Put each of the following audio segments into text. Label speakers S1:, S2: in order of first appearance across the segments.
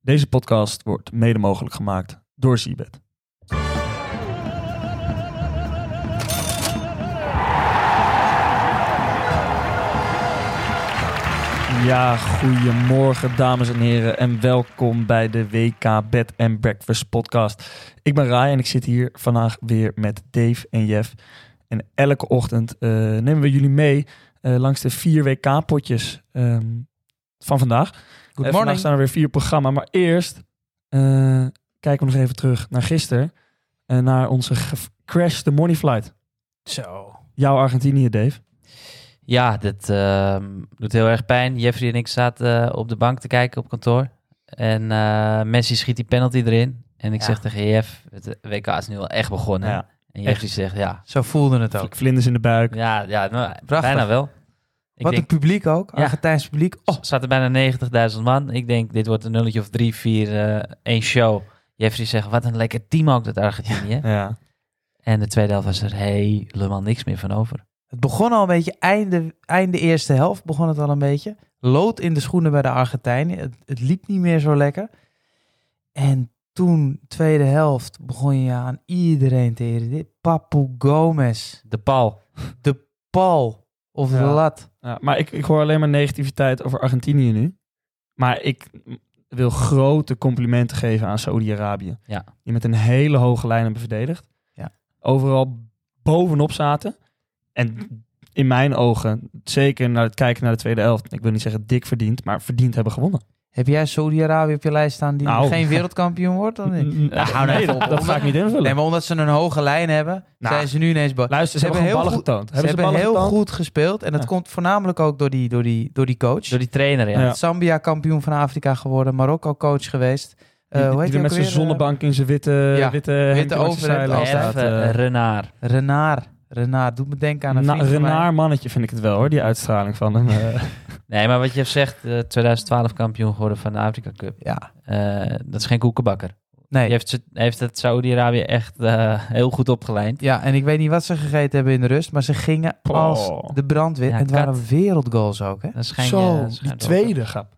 S1: Deze podcast wordt mede mogelijk gemaakt door Seabed. Ja, goedemorgen dames en heren en welkom bij de WK Bed and Breakfast podcast. Ik ben Rai en ik zit hier vandaag weer met Dave en Jeff. En elke ochtend eh, nemen we jullie mee eh, langs de vier WK-potjes ehm, van vandaag.
S2: Good
S1: Eh,
S2: morning.
S1: Vandaag staan er weer vier programma. Maar eerst eh, kijken we nog even terug naar gisteren. en naar onze ge- Crash the Money Flight.
S2: Zo.
S1: Jouw Argentinië, Dave.
S2: Ja, dat ehm, doet heel erg pijn. Jeffrey en ik zaten eh, op de bank te kijken op kantoor. En eh, Messi schiet die penalty erin. En ik
S1: Ja.
S2: zeg tegen Jeff, het WK is nu al echt begonnen.
S1: Ja.
S2: en Jeffrey zegt, ja.
S3: Zo voelde het ook.
S1: Vl- Vlinders in de buik.
S2: Ja, ja nou,
S3: Prachtig.
S2: bijna wel. Ik
S3: Wat
S2: denk,
S3: een publiek ook.
S2: Ja.
S3: Argentijns publiek. Oh,
S2: er zaten bijna 90.000 man. Ik denk, dit wordt een nulletje of drie, vier, eh, één show. Jeffrey zegt, wat een lekker team ook dat Argentinië.
S1: Ja.
S2: En de tweede helft was er helemaal niks meer van over.
S3: het begon al een beetje einde, einde eerste helft. Begon het al een beetje. Lood in de schoenen bij de Argentijnen. Het, het liep niet meer zo lekker. En toen, tweede helft, begon je aan iedereen te irriteren. Papu Gomez.
S2: De Paul.
S3: De Paul. Of de
S1: Ja.
S3: Lat.
S1: Ja, maar ik, ik hoor alleen maar negativiteit over Argentinië nu. Maar ik mm, wil grote complimenten geven aan Saoedi-Arabië.
S2: Ja.
S1: Die met een hele hoge lijn hebben verdedigd.
S3: Ja.
S1: Overal bovenop zaten. En in mijn ogen, zeker naar het kijken naar de tweede helft. Ik wil niet zeggen dik verdiend, maar verdiend hebben gewonnen.
S3: Heb jij Saudi-Arabië op je lijst staan die
S1: Nou.
S3: geen wereldkampioen wordt? Of niet?
S1: Mm,
S3: Nou, hou nou
S1: nee,
S3: even
S1: dat,
S3: op,
S1: dat
S3: hoor.
S1: ga ik niet invullen.
S3: Nee, maar omdat ze een hoge lijn hebben,
S1: Nou.
S3: zijn ze nu ineens... bo-
S1: Luister, ze,
S3: Ze
S1: hebben,
S3: hebben
S1: gewoon
S3: heel
S1: ballen getoond.
S3: Ze hebben,
S1: ballen
S3: heel
S1: getoond?
S3: goed gespeeld. En dat
S1: Ja.
S3: komt voornamelijk ook door die, door die, door die coach.
S2: Door die trainer, ja.
S1: Ja.
S3: Zambia kampioen van Afrika geworden. Marokko coach geweest. Eh,
S1: Die- die,
S3: hoe
S1: die
S3: heet hij
S1: met
S3: ook
S1: zijn
S3: alweer?
S1: zonnebank in zijn witte,
S3: Ja,
S1: witte, hemdje langs de
S3: overhemd
S1: zijlijn
S3: als
S1: staat,
S2: Even
S1: eh.
S2: Renard.
S3: Eh, Renard. Renard. Doet me denken aan een
S1: Na-
S3: vriend van mij.
S1: Renaar mannetje vind ik het wel hoor, die uitstraling van hem. eh.
S2: Nee, maar wat je zegt, eh, 2012 kampioen geworden van de Afrika Cup.
S3: Ja.
S2: Eh, dat is geen koekenbakker.
S3: Nee.
S2: Je heeft, ze- heeft het Saudi-Arabië echt eh, heel goed opgeleind.
S3: Ja, en ik weet niet wat ze gegeten hebben in de rust. Maar ze gingen
S1: Oh.
S3: als de brandweer.
S2: Ja,
S3: en het
S2: kat.
S3: waren wereldgoals ook, hè?
S2: Dat eh, schijn je,
S1: Zo,
S2: dat schijnt
S1: die
S2: ook.
S1: tweede grap. Er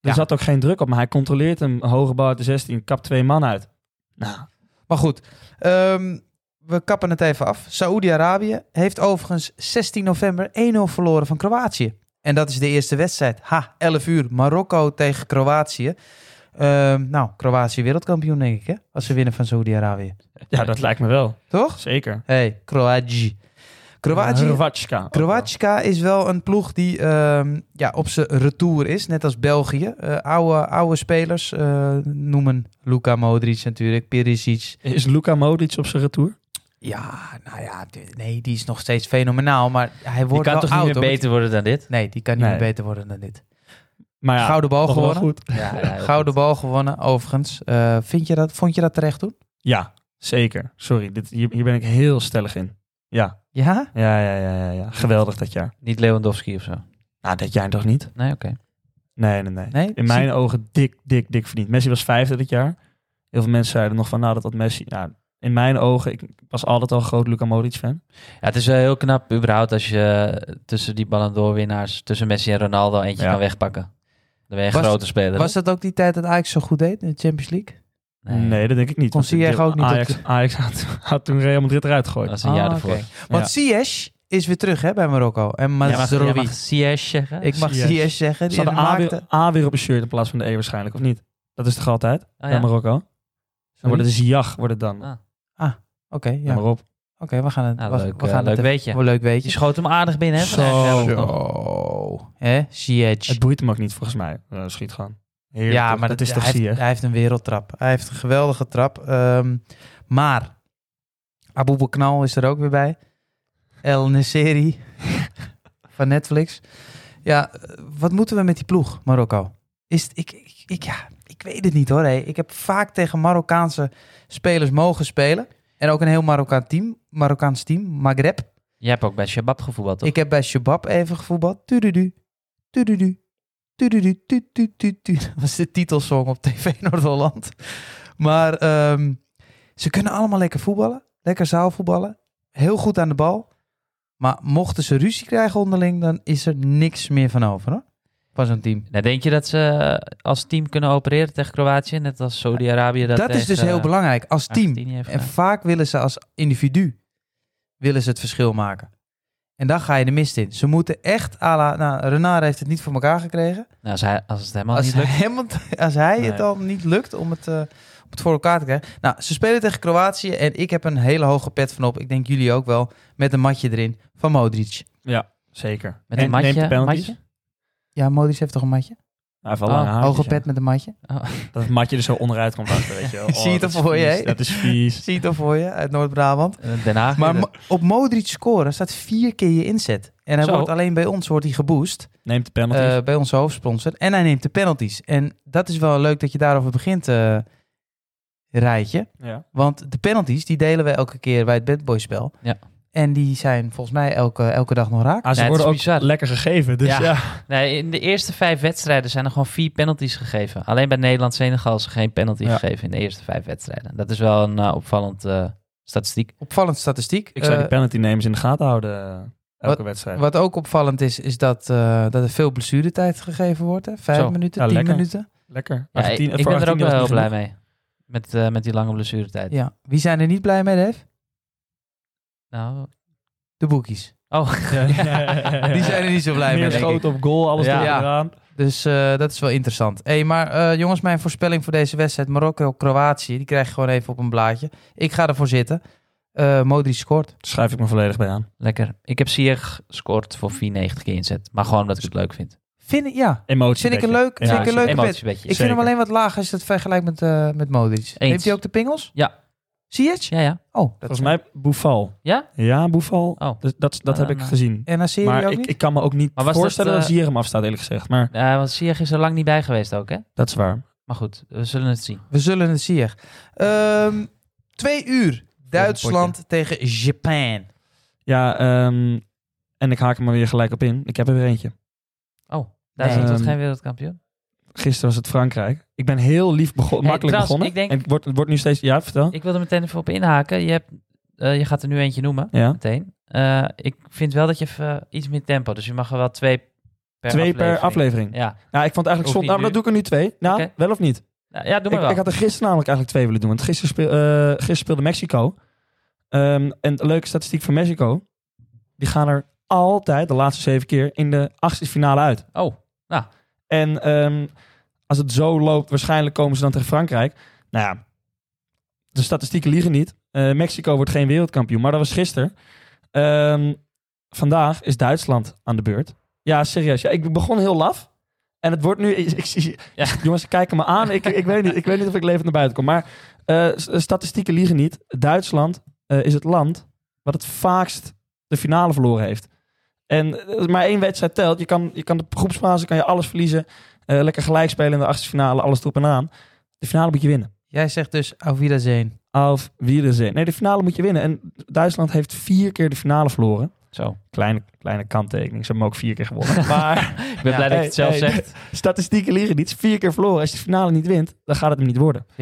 S3: eh, Ja.
S1: zat ook geen druk op, maar hij controleert hem. Hoge bal uit de 16, kap twee man uit. Nou,
S3: Maar goed. ehm, we kappen het even af. Saoedi-Arabië heeft overigens 16 november 1-0 verloren van Kroatië. En dat is de eerste wedstrijd. Ha, 11 uur. Marokko tegen Kroatië. Ehm, nou, Kroatië wereldkampioen, denk ik, hè? Als ze winnen van Saoedi-Arabië.
S1: ja, dat lijkt me wel.
S3: Toch?
S1: Zeker.
S3: Hé, hey, Kroatië. Kroatië.
S1: Hrvatska.
S3: Kroatska is wel een ploeg die ehm, ja, op zijn retour is, net als België. Eh, oude, oude spelers eh, noemen Luka Modric natuurlijk, Perisic,
S1: Is Luka Modric op zijn retour?
S3: Ja, nou ja, d- nee, die is nog steeds fenomenaal, maar hij
S2: Die
S3: wordt
S2: kan
S3: wel
S2: toch
S3: oud,
S2: niet meer
S3: hoor.
S2: beter worden dan dit?
S3: Nee, die kan niet
S1: Nee.
S3: meer beter worden dan dit.
S1: Maar ja,
S3: Gouden bal
S1: nog wel
S3: gewonnen.
S1: goed.
S2: Ja, ja, heel
S3: Gouden bal gewonnen, overigens. Eh, vind je dat, vond je dat terecht toen?
S1: Ja, zeker. Sorry, dit, hier, hier ben ik heel stellig in. Ja,
S3: Ja?
S1: ja, ja, ja, ja, ja. Geweldig dat jaar.
S2: goed. Niet Lewandowski of zo.
S1: Nou, dat jaar toch niet?
S2: Nee, oké.
S1: Nee, nee, nee.
S3: Nee?
S1: In mijn ogen dik, dik, dik verdiend. Messi was vijfde dit jaar. Heel veel mensen zeiden nog van, nou, dat had Messi... Nou, in mijn ogen, ik was altijd al een groot Luka Modric-fan.
S2: Ja, het is wel heel knap überhaupt als je eh, tussen die Ballon d'Or winnaars, tussen Messi en Ronaldo, eentje
S1: Ja.
S2: kan wegpakken. Dan ben je een
S3: Was-
S2: grote speler.
S3: Was dat ook die tijd dat Ajax zo goed deed in de Champions League?
S2: hè?
S1: Nee, dat denk ik niet.
S3: Kon
S1: want
S3: Ziyech ook niet
S1: Ajax,
S3: dat-
S1: Ajax had, had toen Real Madrid eruit
S2: dat
S1: gegooid.
S2: was een jaar
S3: Ah,
S2: ervoor.
S3: oké. Want Ziyech is weer terug hè, bij Marokko. En
S2: Jij mag, jij
S3: Mazraoui.
S2: mag Ziyech zeggen? Oh
S3: Ik mag
S1: Ziyech.
S3: Ziyech zeggen.
S1: Ze
S3: die
S1: hadden A
S3: maakte...
S1: weer, A weer op een shirt in plaats van de E waarschijnlijk, of niet? Dat is toch altijd?
S2: Ah,
S1: Bij
S2: ja.
S1: Marokko. Dan
S3: Sorry?
S1: wordt het Ziyech, wordt het dan.
S2: Ah,
S3: Oké, ja.
S1: Noem
S3: Oké,
S1: maar op.
S3: we gaan het,
S2: Nou,
S3: we,
S2: leuk,
S3: we
S2: eh,
S3: gaan
S2: leuk
S3: het
S2: weetje.
S3: even... Leuk
S2: Je
S3: weetje.
S2: schoot hem aardig binnen, hè? vandaag
S1: Zo.
S2: zelf.
S3: Zo. Hè, Ziyech.
S1: Het boeit hem ook niet, volgens mij. Eh, schiet gewoon. Heerlijk,
S3: ja,
S1: toch?
S3: maar
S1: dat
S3: dat-
S1: is toch
S3: hij,
S1: Ziyech?
S3: heeft, hij heeft een wereldtrap. Hij heeft een geweldige trap. Ehm, maar Abu Knal is er ook weer bij. El Neseri van Netflix. Ja, eh, wat moeten we met die ploeg, Marokko? Is het- ik, ik, ik- ja, ik weet het niet hoor. hè. Ik heb vaak tegen Marokkaanse spelers mogen spelen. En ook een heel Marokkaan team, Marokkaans team, Maghreb.
S2: Jij hebt ook bij Shabab gevoetbald, toch?
S3: Ik heb bij Shabab even gevoetbald. Tududu, tududu, tududu, tu, tu, tu, tu. Dat was de titelsong op TV Noord-Holland. Maar ehm, ze kunnen allemaal lekker voetballen. Lekker zaalvoetballen. Heel goed aan de bal. Maar mochten ze ruzie krijgen onderling, dan is er niks meer van over. Hoor. van zo'n team.
S2: Nou, denk je dat ze eh, als team kunnen opereren tegen Kroatië? Net als Saudi-Arabië dat
S3: Dat, is dus
S2: tegen,
S3: heel
S2: eh,
S3: belangrijk als team.
S2: Argentinië heeft
S3: En
S2: gedaan.
S3: vaak willen ze als individu willen ze het verschil maken. En dan ga je de mist in. Ze moeten echt, à la, nou, Renard heeft het niet voor elkaar gekregen.
S2: Nou, als, hij, als het helemaal
S3: Als
S2: niet lukt.
S3: hij, helemaal- als hij het
S1: Nee.
S3: al niet lukt om het, eh, om het voor elkaar te krijgen. Nou, ze spelen tegen Kroatië en ik heb een hele hoge pet van op. Ik denk jullie ook wel. Met een matje erin van Modric.
S1: Zeker.
S2: Met een
S1: En neemt
S2: matje-
S1: de penalties?
S2: matje?
S3: Ja, Modric heeft toch een matje?
S1: Hij heeft wel
S2: Oh,
S1: lange haartjes,
S3: Hoge
S1: ja.
S3: pet met een matje.
S2: Oh,
S1: Dat het matje er zo onderuit komt achter, weet je wel. Oh,
S3: Zie je het
S1: dat
S3: al
S1: is
S3: voor je,
S1: vies,
S3: hè?
S1: Dat is vies.
S3: Zie je het al voor je uit Noord-Brabant.
S2: Eh, Den Haag.
S3: Maar mo- op Modric scoren staat vier keer je inzet. En hij
S2: Zo.
S3: wordt alleen bij ons wordt hij geboost.
S1: Neemt de penalties.
S3: Eh, bij onze hoofdsponsor. En hij neemt de penalties. En dat is wel leuk dat je daarover begint, eh Rijtje.
S1: ja.
S3: Want de penalties, die delen we elke keer bij het Bad Boys spel.
S2: Ja.
S3: En die zijn volgens mij elke, elke dag nog raak.
S1: Ah, ze
S2: Ja, het
S1: worden
S2: is
S1: ook
S2: bizar.
S1: lekker gegeven, dus ja.
S2: Ja. Nee, in de eerste vijf wedstrijden zijn er gewoon vier penalties gegeven. Alleen bij Nederland-Senegal is er geen penalty
S1: Ja.
S2: gegeven in de eerste vijf wedstrijden. Dat is wel een eh, opvallend eh, statistiek.
S3: Opvallend statistiek.
S1: Ik zou die
S3: Eh,
S1: penalty-nemers in de gaten houden eh, elke wedstrijd.
S3: wat ook opvallend is, is dat, eh, dat er veel blessuretijd gegeven wordt. Hè? Vijf
S2: Zo.
S3: minuten,
S1: Ja,
S3: tien
S1: lekker.
S3: minuten.
S1: lekker.
S2: Ja,
S1: Argentinië-
S2: ik ik
S1: voor
S2: ben er ook
S1: Argentinië
S2: wel heel
S1: was het
S2: blij
S1: niet
S2: mee. Met, eh, met die lange blessuretijd.
S3: Ja. Wie zijn er niet blij mee, Dave?
S2: Nou,
S3: De boekies.
S2: oh,
S1: genoeg. Ja, ja, ja, ja.
S3: Die zijn er niet zo blij mee,
S1: Meer
S3: denk ik.
S1: schoten op goal, alles
S2: Ja.
S1: erop en eraan.
S3: Dus eh, dat is wel interessant. Hey, maar eh, jongens, mijn voorspelling voor deze wedstrijd Marokko-Kroatië, die krijg je gewoon even op een blaadje. Ik ga ervoor zitten. Eh Modric scoort.
S1: Schrijf ik me volledig bij aan.
S2: lekker. Ik heb Sier gescoord voor 94 keer inzet. Maar gewoon omdat ik het leuk vind.
S3: Vind ik, ja.
S1: Emotie.
S3: Vind ik een
S1: beetje.
S3: leuk,
S1: Ja,
S3: vind ik een
S1: emotie.
S3: leuke
S2: Emotie
S3: bet.
S2: een beetje.
S3: Ik vind hem
S1: Zeker.
S3: alleen wat laag als je dat vergelijkt met, eh, met Modric. Heeft hij ook de pingels?
S2: Ja.
S3: Zie je het?
S2: Ja, ja.
S3: Oh, dat
S1: Volgens mij Boufal.
S2: Ja?
S1: Ja, Boufal.
S2: Oh.
S1: Dus dat dat
S2: Ah,
S1: heb ik
S2: nou.
S1: gezien.
S3: En dan eh, zie je die
S1: Maar
S3: ook
S1: ik,
S3: niet?
S1: ik kan me ook niet
S2: Maar was dat,
S1: voorstellen dat,
S2: eh,
S1: Ziyech hem afstaat, eerlijk gezegd. Maar
S2: Eh, want Sier is er lang niet bij geweest ook, hè?
S1: dat is waar.
S2: Maar goed, we zullen het zien.
S3: We zullen het zien. Ehm twee uur. Duitsland tegen Japan.
S1: Ja, ehm, en ik haak hem er weer gelijk op in. Ik heb er weer eentje.
S2: Oh, Duitsland
S1: Ehm,
S2: wordt geen wereldkampioen.
S1: Gisteren was het Frankrijk. Ik ben heel lief bego-
S2: Hey,
S1: makkelijk
S2: trouwens,
S1: begonnen.
S2: ik denk-
S1: En het wordt, het wordt nu steeds... Ja, vertel.
S2: Ik wil er meteen even op inhaken. Je, hebt, eh, je gaat er nu eentje noemen.
S1: ja.
S2: meteen. Eh, ik vind wel dat je even iets meer tempo. Dus je mag er wel twee per
S1: twee per
S2: aflevering.
S1: aflevering.
S2: Ja.
S1: Nou, ik vond het eigenlijk
S2: Hoef
S1: zonde.
S2: je
S1: Nou, maar dat
S2: nu-
S1: doe ik er nu twee. Nou,
S2: Oké.
S1: wel of niet?
S2: Nou, ja, doe
S1: Ik,
S2: maar wel.
S1: ik had er gisteren namelijk eigenlijk twee willen doen. Want gisteren, speel- eh, gisteren speelde Mexico. Ehm, en een leuke statistiek van Mexico. Die gaan er altijd, de laatste zeven keer, in de achtste finale uit.
S2: Oh, nou.
S1: En ehm, als het zo loopt, waarschijnlijk komen ze dan tegen Frankrijk. Nou ja, de statistieken liegen niet. Eh, Mexico wordt geen wereldkampioen. Maar dat was gisteren. Ehm, vandaag is Duitsland aan de beurt. Ja, serieus. Ja, ik begon heel laf. En het wordt nu... Ik, ik zie,
S2: Ja.
S1: Jongens, ze kijken me aan. Ik, ik, weet niet, ik weet niet of ik levend naar buiten kom. Maar eh, s- statistieken liegen niet. Duitsland eh, is het land wat het vaakst de finale verloren heeft. En eh, maar één wedstrijd telt. Je kan, je kan de groepsfase kan je alles verliezen. Eh, lekker gelijk spelen in de achtste finale. Alles erop en aan. De finale moet je winnen.
S3: Jij zegt dus auf Wiedersehen.
S1: Auf Wiedersehen. Nee, de finale moet je winnen. En Duitsland heeft vier keer de finale verloren.
S2: Zo.
S1: Kleine, kleine kanttekening. Ze hebben ook vier keer gewonnen. Maar
S2: Ik ben
S3: Ja,
S2: blij dat je het zelf
S1: hey, hey.
S2: zegt.
S1: statistieken liegen niet. Het is Vier keer verloren. Als je de finale niet wint, dan gaat het hem niet worden.
S3: 50-50.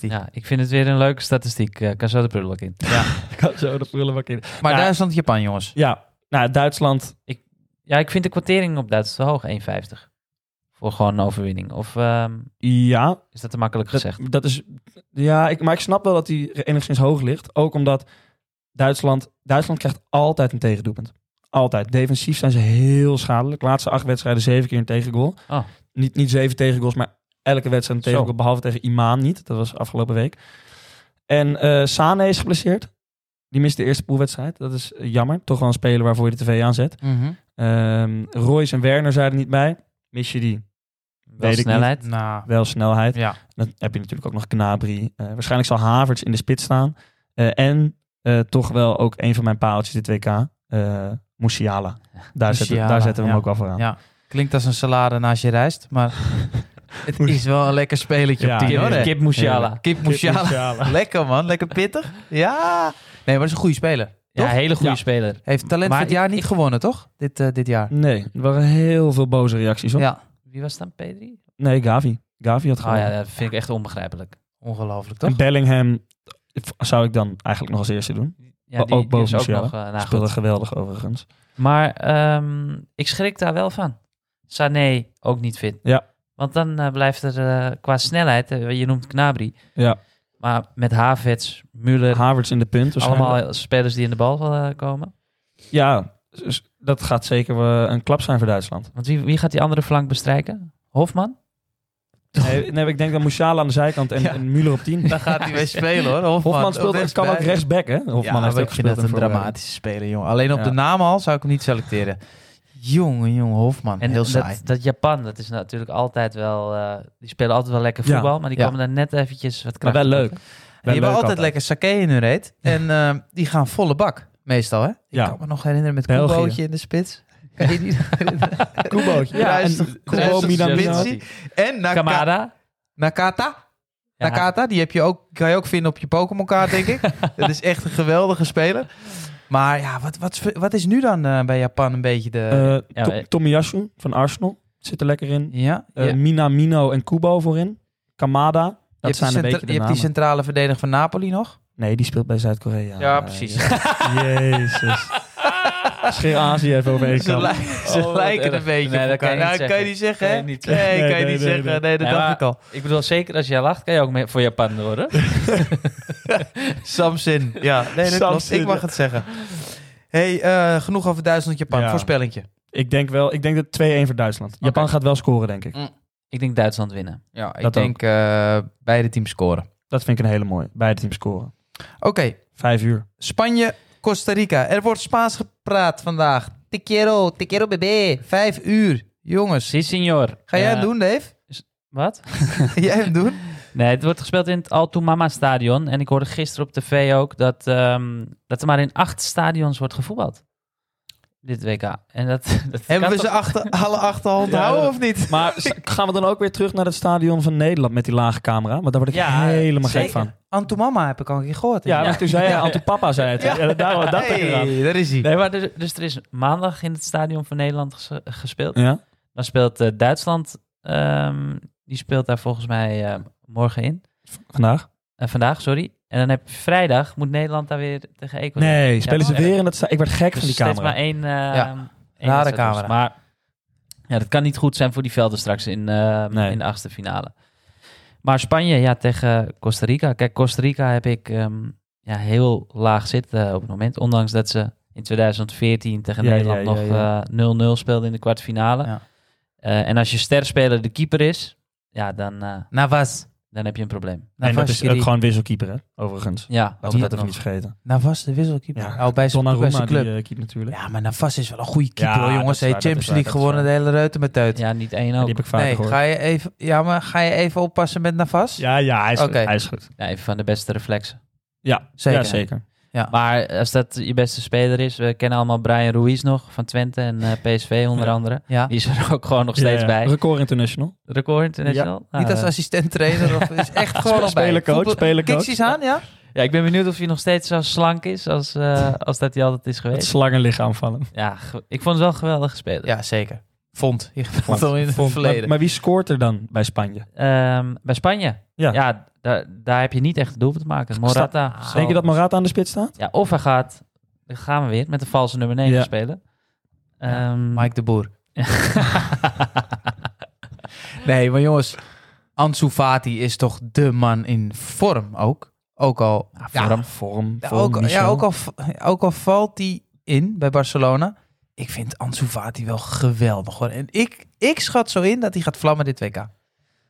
S2: Ja, ik vind het weer een leuke statistiek. Eh, kan zo de prullenbak in.
S1: Ik had zo de prullenbak in.
S3: Maar
S1: Ja.
S3: Duitsland-Japan, jongens.
S1: Ja, nou, Duitsland.
S2: Ja, ik vind de kwartering op Duitsland te hoog. 1,50. Voor gewoon een overwinning. Of ehm,
S1: Ja,
S2: is dat te makkelijk
S1: dat,
S2: gezegd?
S1: dat is. Ja, ik, maar ik snap wel dat hij enigszins hoog ligt. Ook omdat Duitsland. Duitsland krijgt altijd een tegendoelpunt. Altijd. Defensief zijn ze heel schadelijk. Laatste acht wedstrijden zeven keer een tegengoal.
S2: Oh.
S1: Niet, niet zeven tegengoals, maar elke wedstrijd een
S2: Zo.
S1: tegengoal. Behalve tegen Imaan niet. Dat was afgelopen week. En eh Sane is geblesseerd. Die mist de eerste poolwedstrijd. Dat is eh, jammer. Toch wel een speler waarvoor je de tv aanzet.
S3: Mhm.
S1: Ehm Royce en Werner zijn er niet bij. Mis je die?
S2: Wel
S1: ik niet.
S2: snelheid.
S3: Nou,
S1: Wel snelheid.
S3: ja.
S1: Dan heb je natuurlijk ook nog Knabri. waarschijnlijk zal Havertz in de spits staan. Eh, en eh, toch wel ook een van mijn paaltjes dit WK. eh Musiala. Daar, zetten,
S3: Musiala,
S1: daar zetten we hem
S3: ja.
S1: ook wel voor aan.
S3: Ja. Klinkt als een salade naast je rijst, maar het is wel een lekker spelletje
S1: Ja,
S3: op tien,
S1: nee,
S3: hoor.
S1: nee.
S3: hè?
S2: Kip Musiala.
S1: Ah, Heerlijk.
S3: Kip Musiala. Lekker man, lekker pittig. Ja. Nee, maar dat is een goede speler.
S2: Ja,
S3: Toch?
S2: hele goede
S1: Ja.
S2: speler.
S3: Heeft talent
S2: Maar
S3: van het jaar
S2: ik-
S3: niet
S2: ik-
S3: gewonnen, toch? Dit, eh, dit jaar.
S1: Nee, er waren heel veel boze reacties. Hoor.
S3: Ja,
S2: Wie was dan, Pedri?
S1: Nee, Gavi. Gavi had
S2: Oh
S1: gewoon.
S2: ja, dat vind ik echt onbegrijpelijk.
S3: ongelooflijk
S1: en
S3: toch?
S1: Bellingham zou ik dan eigenlijk nog als eerste doen.
S2: Ja, die,
S1: Ook
S2: die is
S1: boven
S2: ook nou,
S1: Musiala.
S2: nog... eh, nou,
S1: Speelde
S2: goed.
S1: geweldig overigens.
S2: Maar ehm, ik schrik daar wel van. Sané ook niet fit.
S1: Ja.
S2: Want dan eh, blijft er eh, qua snelheid, eh, je noemt Knabri,
S1: Ja.
S2: maar met Havertz, Müller,
S1: Havertz in de punt. waarschijnlijk.
S2: allemaal eh, spelers die in de bal eh, komen.
S1: Ja, dus dat gaat zeker eh, een klap zijn voor Duitsland.
S2: Want wie, wie gaat die andere flank bestrijken? Hofman?
S1: Nee, nee, ik denk dat Musiala aan de zijkant en,
S3: Ja.
S1: en Müller op 10.
S3: Dan gaat hij weer spelen hoor. Hofman,
S1: Hofman speelt, kan ook
S3: rechtsback.
S1: rechtsback, hè? Hofman
S3: ja,
S1: heeft
S3: maar
S1: ook
S3: ik vind
S1: gespeeld
S3: dat een
S1: in voorbereiding.
S3: dramatische speler, jongen. Alleen op
S1: Ja.
S3: de naam al zou ik hem niet selecteren. Jongen, jongen, Hofman.
S2: En
S3: heel saai.
S2: dat, dat Japan, dat is natuurlijk altijd wel... eh, die spelen altijd wel lekker
S1: Ja.
S2: voetbal, maar die
S3: Ja.
S2: komen daar net eventjes wat
S1: Maar
S2: kracht
S1: wel leuk.
S3: En
S1: Wel
S3: die
S1: leuk
S3: hebben altijd lekker sake in hun reet. En eh, die gaan volle bak, meestal hè. Ik
S1: Ja.
S3: kan me nog herinneren met
S1: België.
S3: Kubootje in de spits. Kan je die nog herinneren?
S1: Kubootje. Ja,
S3: Kruis-
S1: en
S3: Kruis-
S1: Kubo, Minamino.
S3: Spitsie. En Naka-
S2: Kamada?
S3: Nakata.
S2: Ja.
S3: Nakata, die heb je ook, kan je ook vinden op je Pokémon kaart, denk ik. dat is echt een geweldige speler. Maar ja, wat, wat, wat is nu dan eh, bij Japan een beetje de...
S1: Eh,
S2: Ja,
S1: To-
S2: maar-
S1: Tomiyasu van Arsenal zit er lekker in.
S3: ja,
S1: Eh,
S3: ja.
S1: Minamino en Kubo voorin. Kamada. Dat
S3: je
S1: zijn
S3: hebt, die
S1: een
S3: centra-
S1: beetje de
S3: je hebt die
S1: namen.
S3: centrale verdediger van Napoli nog.
S1: Nee, die speelt bij Zuid-Korea.
S3: Ja,
S1: Eh,
S3: precies.
S1: Jezus. Scheer Azië even over één
S3: Ze,
S1: kant.
S3: li- ze
S2: Oh, wat
S3: lijken
S2: erg.
S3: een beetje
S2: Nee,
S3: op
S2: dat kan
S3: elkaar.
S2: je niet
S3: Nou, kan je
S2: zeggen.
S3: niet zeggen,
S2: Kan
S3: hè?
S2: je
S1: zeggen.
S3: Nee, kan je
S2: niet
S1: Nee,
S3: niet
S1: nee, nee,
S3: zeggen. Nee,
S1: nee.
S3: dat
S2: Nee,
S3: dacht
S2: maar-
S3: ik al.
S2: Ik bedoel, zeker als jij lacht, kan je ook mee voor Japan door, hoor.
S3: Samsin. Ja, nee, dat klopt.
S1: Samsin,
S3: Ik mag
S1: ja.
S3: het zeggen. hey, eh, genoeg over Duitsland-Japan.
S1: Ja.
S3: Voorspellingje.
S1: Ik denk wel, ik denk dat 2-1 voor Duitsland. Japan gaat wel scoren, denk ik.
S2: Ik denk Duitsland winnen.
S3: Ja, ik
S1: Dat ook.
S3: denk eh, beide teams scoren.
S1: Dat vind ik een hele mooie. Beide teams scoren.
S3: Oké,
S1: Vijf uur.
S3: Spanje, Costa Rica. Er wordt Spaans gepraat vandaag. Te quiero, te quiero bebé. Vijf uur. Jongens,
S2: Si, senor.
S3: ga jij
S2: Eh,
S3: hem doen, Dave?
S2: Wat?
S3: Ga jij hem doen?
S2: Nee, het wordt gespeeld in het Altumama Stadion. En ik hoorde gisteren op tv ook dat, ehm, dat er maar in acht stadions wordt gevoetbald. Dit WK. En dat, dat
S3: Hebben
S2: kan
S3: we
S2: toch-
S3: ze achter, alle achter onthouden
S1: dat-
S3: of niet?
S1: Maar s- gaan we dan ook weer terug naar het stadion van Nederland met die lage camera? Want daar word ik
S2: Ja,
S1: helemaal gek
S2: zeker.
S1: van.
S3: Antumama heb ik al een keer gehoord.
S1: Ja,
S2: Ja.
S1: want toen zei hij, Anto Papa zei het. Ja, dat, dat, dat
S3: Hey, daar is hij.
S2: Nee, maar dus, dus er is maandag in het stadion van Nederland ges- gespeeld.
S1: Ja?
S2: Dan speelt eh, Duitsland. ehm, die speelt daar volgens mij eh, morgen in.
S1: Vandaag?
S2: Eh, vandaag, sorry. En dan heb je vrijdag moet Nederland daar weer tegen Ecuador.
S1: Nee, spelen ze
S2: maar-
S1: weer in dat stadion. Ik werd gek
S2: Dus
S1: van die
S2: steeds
S1: camera.
S2: maar één, eh één
S3: rare
S2: wedstrijd
S3: camera.
S2: was. Maar ja, dat kan niet goed zijn voor die velden straks in, eh,
S1: Nee.
S2: in de achtste finale. Maar Spanje, ja, tegen Costa Rica. Kijk, Costa Rica heb ik ehm, ja, heel laag zitten eh, op het moment. Ondanks dat ze in 2014 tegen
S1: Ja,
S2: Nederland
S1: ja, ja,
S2: nog
S1: ja.
S2: eh, 0-0 speelden in de kwartfinale.
S3: Ja.
S2: Eh, en als je sterspeler de keeper is, ja, dan, eh,
S3: Navas.
S2: dan heb je een probleem.
S1: En dat
S3: Navas,
S1: is
S3: Nou, die-
S1: ook gewoon wisselkeeper, hè? Overigens.
S2: Ja,
S1: Laten we
S2: ook
S1: dat even niet vergeten.
S3: Navas, de wisselkeeper.
S1: Ja.
S3: Oh, bij zijn bij
S1: Donnarumma,
S3: zijn
S1: die
S3: club.
S1: eh, keept natuurlijk.
S3: Ja, maar Navas is wel een goede keeper,
S1: Ja,
S3: hoor,
S1: dat
S3: jongens.
S1: is
S3: Hey,
S1: waar, dat is
S3: Champions
S1: waar,
S3: League
S1: dat is
S3: gewonnen, de hele reuten met uit.
S2: Ja, niet één ook.
S1: Die heb ik vaak
S3: nee,
S1: gehoord.
S3: ga je, even, ja, maar ga je even oppassen met Navas?
S1: Ja, ja, hij is,
S3: Oké.
S1: goed. hij is goed.
S2: Ja, even van de beste reflexen.
S1: Ja,
S3: Zeker.
S1: zeker. Ja, zeker.
S2: Maar als dat je beste speler is, we kennen allemaal Brian Ruiz nog van Twente en eh, PSV onder
S1: Ja.
S2: andere.
S3: Ja.
S2: Die is er ook gewoon nog steeds
S1: Ja, ja.
S2: bij.
S1: Record International.
S2: Record Nou, International. Ja.
S3: Niet als assistent trainer, of is echt gewoon al bij.
S1: Spelercoach,
S3: Voetbal-
S1: spelercoach.
S3: Kiksies aan, ja?
S2: ja, ik ben benieuwd of hij nog steeds zo slank is als, eh, als dat hij altijd is
S1: Het
S2: geweest.
S1: slangenlichaam van hem.
S2: Ja, ge- ik vond het wel een geweldige speler.
S3: Ja, zeker. Vond. Je vond al in het
S1: Vond-
S3: verleden.
S1: Maar, maar wie scoort er dan bij Spanje?
S2: Ehm, bij Spanje, ja,
S1: Ja.
S2: daar, daar heb je niet echt een doel te maken. Morata. zal-
S1: Denk je dat Morata aan de spits staat?
S2: Ja, of hij gaat, dan gaan we weer, met de valse nummer 9
S1: Ja.
S2: spelen.
S3: Ja,
S2: Ehm,
S3: Mike de Boer. nee, maar jongens, Ansu Fati is toch de man in vorm ook. Ook al, ja,
S1: Vorm, vorm,
S3: ja,
S1: vorm,
S3: ook, ja,
S1: Michel.
S3: ook, al, v- ook al valt hij in bij Barcelona. Ik vind Ansu Fati wel geweldig hoor. En ik, ik schat zo in dat hij gaat vlammen dit WK.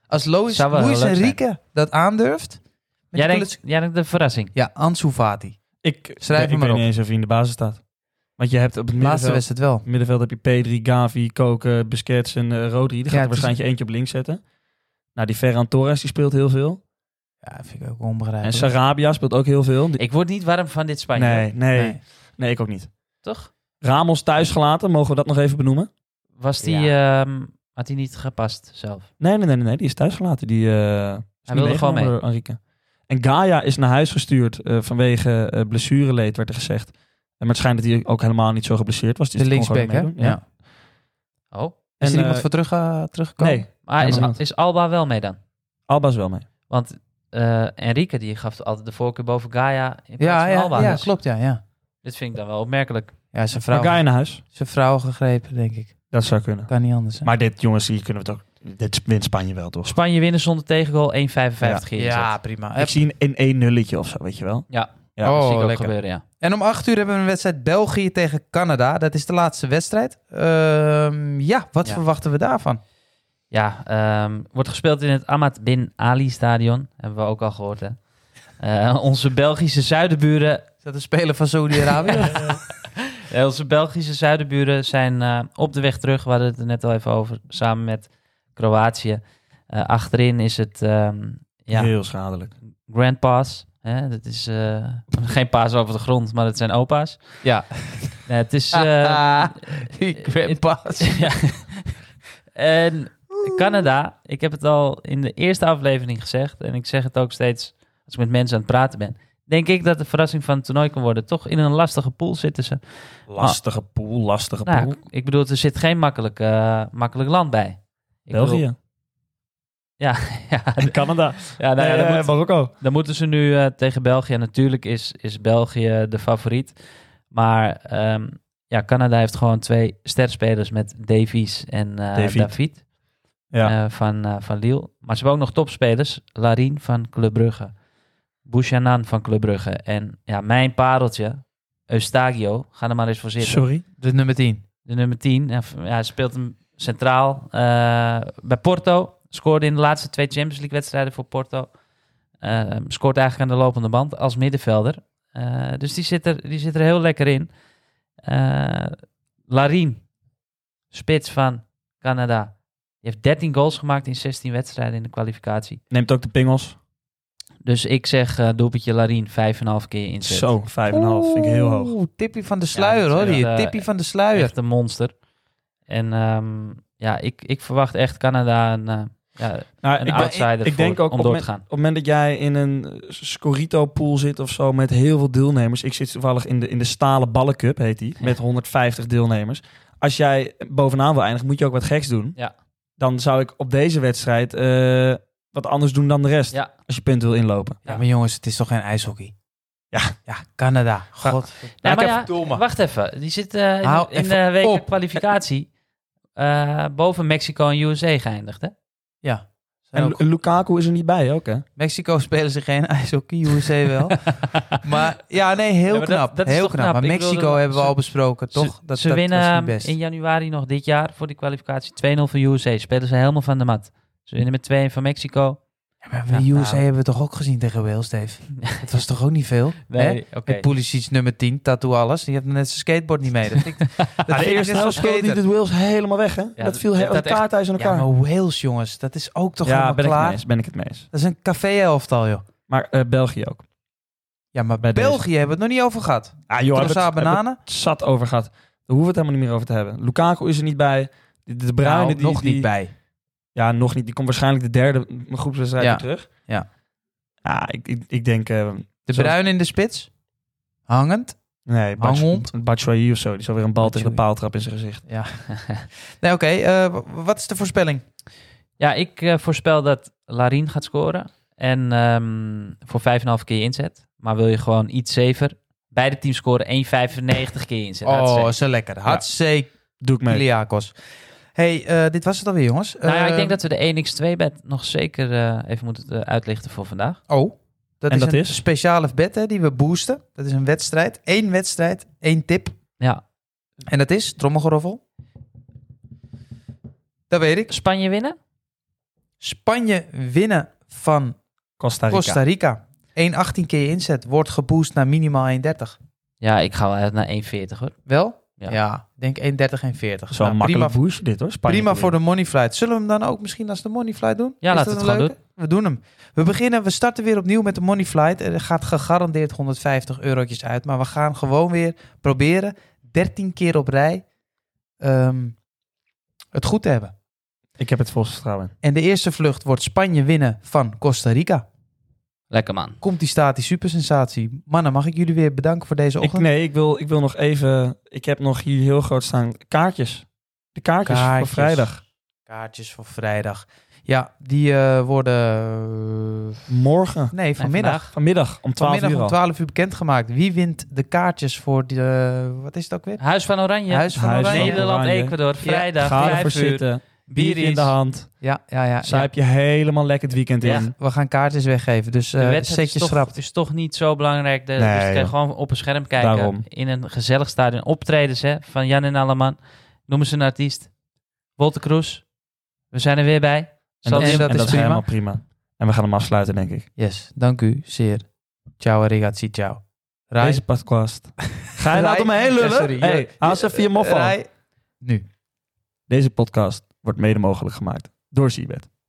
S3: Als Lois,
S2: Zou wel heel
S3: Luis
S2: leuk zijn.
S3: Enrique dat aandurft. met
S2: jij, denkt,
S3: Pulisic-
S2: jij denkt de verrassing.
S3: Ja, Ansu Fati.
S1: Ik,
S3: Schrijf
S1: ik
S3: hem maar
S1: weet
S3: op.
S1: niet eens of hij in de basis staat. Want je hebt op het
S3: Laatste
S1: middenveld,
S3: wedstrijd wel.
S1: middenveld heb je Pedri, Gavi, Koken, Busquets en eh, Rodri. Die
S3: Ja,
S1: gaat er
S3: het is-
S1: waarschijnlijk eentje op links zetten. Nou, die Ferran Torres die speelt heel veel.
S3: Ja, vind ik ook onbegrijpelijk.
S1: En Sarabia speelt ook heel veel. Die-
S2: Ik word niet warm van dit Spanje.
S1: nee, nee, nee,
S3: Nee.
S1: ik ook niet.
S2: Toch?
S1: Ramos thuisgelaten, mogen we dat nog even benoemen?
S2: Was die, ehm, had hij niet gepast zelf?
S1: Nee, nee, nee, nee, nee, die is thuisgelaten. Die, eh, is niet
S2: wilde
S1: meegenomen
S2: gewoon mee.
S1: door Enrique. En Gaia is naar huis gestuurd eh, vanwege eh blessureleed, werd er gezegd. En maar het schijnt dat hij ook helemaal niet zo geblesseerd was. Dus
S3: De
S1: die kon gewoon
S3: linksback, hè? Ja.
S1: meedoen. Ja.
S2: Oh.
S1: En,
S3: is er iemand
S1: eh,
S3: voor terug, eh, teruggekomen?
S1: Nee,
S2: Maar is,
S1: Helemaal niet.
S2: is Alba wel mee dan?
S1: Alba is wel mee.
S2: Want eh, Enrique die gaf altijd de voorkeur boven Gaia in plaats
S3: Ja,
S2: van
S3: ja,
S2: Alba.
S3: ja,
S2: Dus
S3: klopt, ja, ja.
S2: Dit vind ik dan wel opmerkelijk.
S3: Ja, zijn
S1: Maar
S3: vrouw,
S1: ga je naar huis?
S3: zijn vrouw gegrepen, denk ik.
S1: Dat zou kunnen.
S3: Kan niet anders. Hè?
S1: Maar dit, jongens, hier kunnen we het ook... Dit wint Spanje wel, toch?
S2: Spanje winnen zonder tegengoal 1,55 keer.
S3: ja, prima.
S1: Ik
S3: Heb-
S1: zie een 1 nulletje of zo, weet je wel?
S2: Ja.
S1: Ja,
S2: dat
S3: Oh,
S2: zie ik ook
S3: lekker.
S2: gebeuren, ja.
S3: En om 8 uur hebben we een wedstrijd België tegen Canada. Dat is de laatste wedstrijd. Ehm, ja, wat
S2: Ja.
S3: verwachten we daarvan?
S2: Ja, ehm, wordt gespeeld in het Ahmad Bin Ali Stadion. Hebben we ook al gehoord, hè. Eh, onze Belgische zuidenburen...
S3: Is dat een speler van Saudi-Arabië?
S2: eh, onze Belgische zuidenburen zijn eh, op de weg terug. We hadden het er net al even over, samen met Kroatië. Eh, achterin is het... ehm, ja,
S1: Heel schadelijk.
S2: Grand Pass. Hè? Dat is eh, geen paas over de grond, maar dat zijn opa's.
S3: ja.
S2: Nee, het is. eh,
S3: Die grandpa's.
S2: ja. En Canada, ik heb het al in de eerste aflevering gezegd. En ik zeg het ook steeds als ik met mensen aan het praten ben. Denk ik dat de verrassing van het toernooi kan worden. Toch in een lastige pool zitten ze.
S1: Lastige pool, lastige
S2: Nou,
S1: pool.
S2: ja, ik bedoel, er zit geen makkelijk, eh, makkelijk land bij. Ik bedoel,
S1: België
S2: ja,
S1: en Canada.
S2: ja, nou ja, dat
S1: Eh,
S2: moet-
S1: Marokko.
S2: Dan moeten ze nu eh, tegen België. En natuurlijk is, is België de favoriet. Maar ehm, ja, Canada heeft gewoon twee sterspelers met Davies en eh,
S1: David.
S2: David
S1: Ja.
S2: eh, van, eh, van Lille. Maar ze hebben ook nog topspelers. Larine van Club Brugge. Bouchanan van Club Brugge. En ja, mijn pareltje, Eustagio. Ga er maar eens voor zitten.
S1: Sorry.
S3: De nummer 10.
S2: De nummer 10. Ja, v- ja, hij speelt hem centraal eh, bij Porto. Scoorde in de laatste twee Champions League wedstrijden voor Porto. Eh, scoort eigenlijk aan de lopende band als middenvelder. Eh, dus die zit, er, die zit er heel lekker in. Eh Larien, spits van Canada. Die heeft 13 goals gemaakt in 16 wedstrijden in de kwalificatie.
S1: Neemt ook de pingels.
S2: Dus ik zeg eh doelpuntje Larien 5,5 keer inzet.
S1: Zo, 5,5. Vind ik heel hoog.
S3: Oeh, tippie van de sluier
S2: dat is
S3: hoor.
S2: echt,
S3: Hier.
S2: eh,
S3: Tippie van de sluier.
S2: Echt een monster. En ehm, ja, ik, ik verwacht echt Canada een, eh, ja,
S1: Nou,
S2: een
S1: ik, ben-
S2: outsider
S1: ik denk
S2: voor-
S1: ook
S2: om
S1: op
S2: door
S1: men-
S2: te gaan.
S1: op het moment dat jij in een Scorito-pool zit of zo met heel veel deelnemers. Ik zit toevallig in de, in de Stalen Ballencup, heet die, met 150 deelnemers. Als jij bovenaan wil eindigen, moet je ook wat geks doen.
S2: Ja.
S1: Dan zou ik op deze wedstrijd eh, wat anders doen dan de rest.
S2: Ja.
S1: Als je punten wil inlopen.
S3: Ja, maar jongens, het is toch geen ijshockey? Ja. Ja, Canada. God.
S2: Nou, maar ja,
S3: verdomme.
S2: wacht even. Die zit eh, in,
S3: Hou
S2: in de
S3: even
S2: week
S3: op.
S2: kwalificatie eh, boven Mexico en USA geëindigd. Hè?
S3: Zijn
S1: En
S3: ook-
S1: Lu- Lukaku is er niet bij ook, hè?
S3: Mexico spelen ze geen ijshockey, USA wel. maar ja, nee, heel
S2: Ja, maar dat-
S3: knap.
S2: dat is
S3: heel
S2: toch
S3: knap.
S2: knap?
S3: Maar
S2: Ik
S3: Mexico
S2: bedoel,
S3: hebben we
S2: ze-
S3: al besproken, toch?
S2: ze ze winnen ehm,
S3: niet best.
S2: in januari nog dit jaar voor die kwalificatie 2-0 voor USA. Spelen ze helemaal van de mat. Ze winnen met 2-1 van Mexico.
S3: Ja, maar
S2: Ja,
S3: de USA
S2: nou.
S3: hebben we toch ook gezien tegen Wales, Dave? Het was toch ook niet veel? hè?
S2: oké.
S3: Met Pulisic nummer 10, tattoo alles. Die had net zijn skateboard niet mee. Dat vind ik, dat vind
S1: de
S3: ik
S1: eerste
S3: net zo'n
S1: helft speelde hij
S3: skater.
S1: de Wales helemaal weg, hè? dat
S2: dat-
S1: viel
S2: dat-
S1: heel
S2: dat echt-
S1: elkaar thuis aan
S3: Ja,
S1: elkaar.
S3: maar Wales, jongens. Dat is ook toch
S1: Ja,
S3: helemaal
S1: ben ik, het
S3: klaar?
S1: mee eens, ben ik het mee eens.
S3: Dat is een café-elftal, joh.
S1: Maar eh, België ook.
S3: Ja, maar
S1: Bij deze.
S3: België hebben we het nog niet over gehad.
S1: Ah, joh, hebben we
S3: Trossard
S1: het- hebben we
S3: Bananen.
S1: het zat over gehad. Daar hoeven we het helemaal niet meer over te hebben. Lukaku is er niet bij. De, de Bruyne
S3: Nou,
S1: die,
S3: nog
S1: die-
S3: niet bij.
S1: Ja, nog niet. Die komt waarschijnlijk de derde groepswedstrijd
S3: Ja.
S1: weer terug.
S3: Ja.
S1: Ja, ik, ik, ik denk... eh,
S3: De
S1: Zoals-
S3: Bruin in de spits. Hangend.
S1: nee, Bats-
S3: Hangond.
S1: Batshuayi of zo. Die zal weer een bal tegen de
S3: Batshuayi.
S1: paaltrap in zijn gezicht.
S3: Ja. nee, oké. eh, w- wat is de voorspelling?
S2: Ja, ik eh, voorspel dat Larien gaat scoren. En ehm, voor 5,5 keer inzet. Maar wil je gewoon iets safer? Beide teams scoren 1,95 keer inzet. Dat is
S3: oh,
S2: safe.
S3: is lekker. Hartstikke
S1: Doe ik mee.
S3: Kiliakos. hey, eh, dit was het alweer, jongens.
S2: nou ja, ik
S3: Eh,
S2: denk dat we de 1x2-bet nog zeker eh, even moeten eh, uitlichten voor vandaag.
S3: Oh, dat
S1: En
S3: is
S1: dat
S3: een
S1: is?
S3: speciale bet hè, die we boosten. Dat is een wedstrijd. Eén wedstrijd, één tip.
S2: Ja.
S3: En dat is trommelgeroffel. Dat weet ik.
S2: Spanje winnen?
S3: Spanje winnen van
S1: Costa Rica.
S3: Costa Rica. 1,18 keer inzet wordt geboost naar minimaal 1,30.
S2: Ja, ik ga wel uit naar 1,40 hoor.
S3: Wel?
S2: Ja.
S3: Ja, ik denk 1,30, 1,40.
S1: Dat is wel
S3: Nou,
S1: een
S3: prima,
S1: makkelijk boertje dit, hoor. Spanje
S3: prima
S1: te
S3: voor de
S1: winnen.
S3: money flight. Zullen we hem dan ook misschien als de money flight doen?
S2: Ja,
S3: Is
S2: laten
S3: dat
S2: we het
S3: een
S2: gewoon
S3: leuke? We doen hem. We beginnen, we starten weer opnieuw met de money flight. Er gaat gegarandeerd 150 eurotjes uit. Maar we gaan gewoon weer proberen 13 keer op rij ehm, het goed te hebben.
S1: Ik heb het volste vertrouwen in.
S3: En de eerste vlucht wordt Spanje winnen van Costa Rica.
S2: Lekker man.
S3: Komt die staat, die supersensatie. Mannen, mag ik jullie weer bedanken voor deze
S1: Ik,
S3: ochtend?
S1: nee, ik wil, ik wil nog even... Ik heb nog hier heel groot staan kaartjes. De kaartjes,
S3: Kaartjes.
S1: voor vrijdag.
S3: Kaartjes voor vrijdag. Ja, die eh, worden eh,
S1: Morgen,
S3: Nee, vanmiddag.
S2: vandaag.
S1: vanmiddag om 12
S3: Vanmiddag
S1: uur
S3: om
S1: al.
S3: 12 uur bekendgemaakt. Wie wint de kaartjes voor de... Wat is het ook weer?
S2: Huis van Oranje.
S3: Huis van
S1: Huis van
S3: Oranje.
S2: Nederland,
S1: Oranje.
S2: Ecuador. Vrijdag,
S1: Ga ervoor
S2: 5 uur.
S1: zitten.
S2: Bier
S1: Bier in de hand.
S3: Ja, ja, ja. ja.
S1: Zuip je helemaal lekker het weekend
S2: Ja.
S1: in.
S3: We gaan kaartjes weggeven, dus
S2: De
S3: eh
S2: wedstrijd
S3: zet
S2: is
S3: je
S2: toch,
S3: schrapt.
S2: is toch niet zo belangrijk. De,
S1: Nee,
S2: dus je kan
S1: joh.
S2: gewoon op een scherm kijken.
S1: Daarom.
S2: In een gezellig stadion. Optredens hè, van Jan en Alleman. Noemen ze een artiest. Wolter Kroes. We zijn er weer bij.
S1: En
S2: Zal
S1: dat,
S2: die-
S1: en dat
S3: is
S1: is
S3: prima.
S1: helemaal prima. En we gaan hem afsluiten, denk ik.
S3: Yes, dank u zeer. Ciao, ragazzi, ciao. Rai.
S1: Deze podcast. Ga je nou
S3: Rai.
S1: om me heen lullen?
S3: Ja, sorry.
S1: hey, haal ze even je moffel.
S3: Rai. Nu.
S1: Deze podcast wordt mede mogelijk gemaakt door Seabed.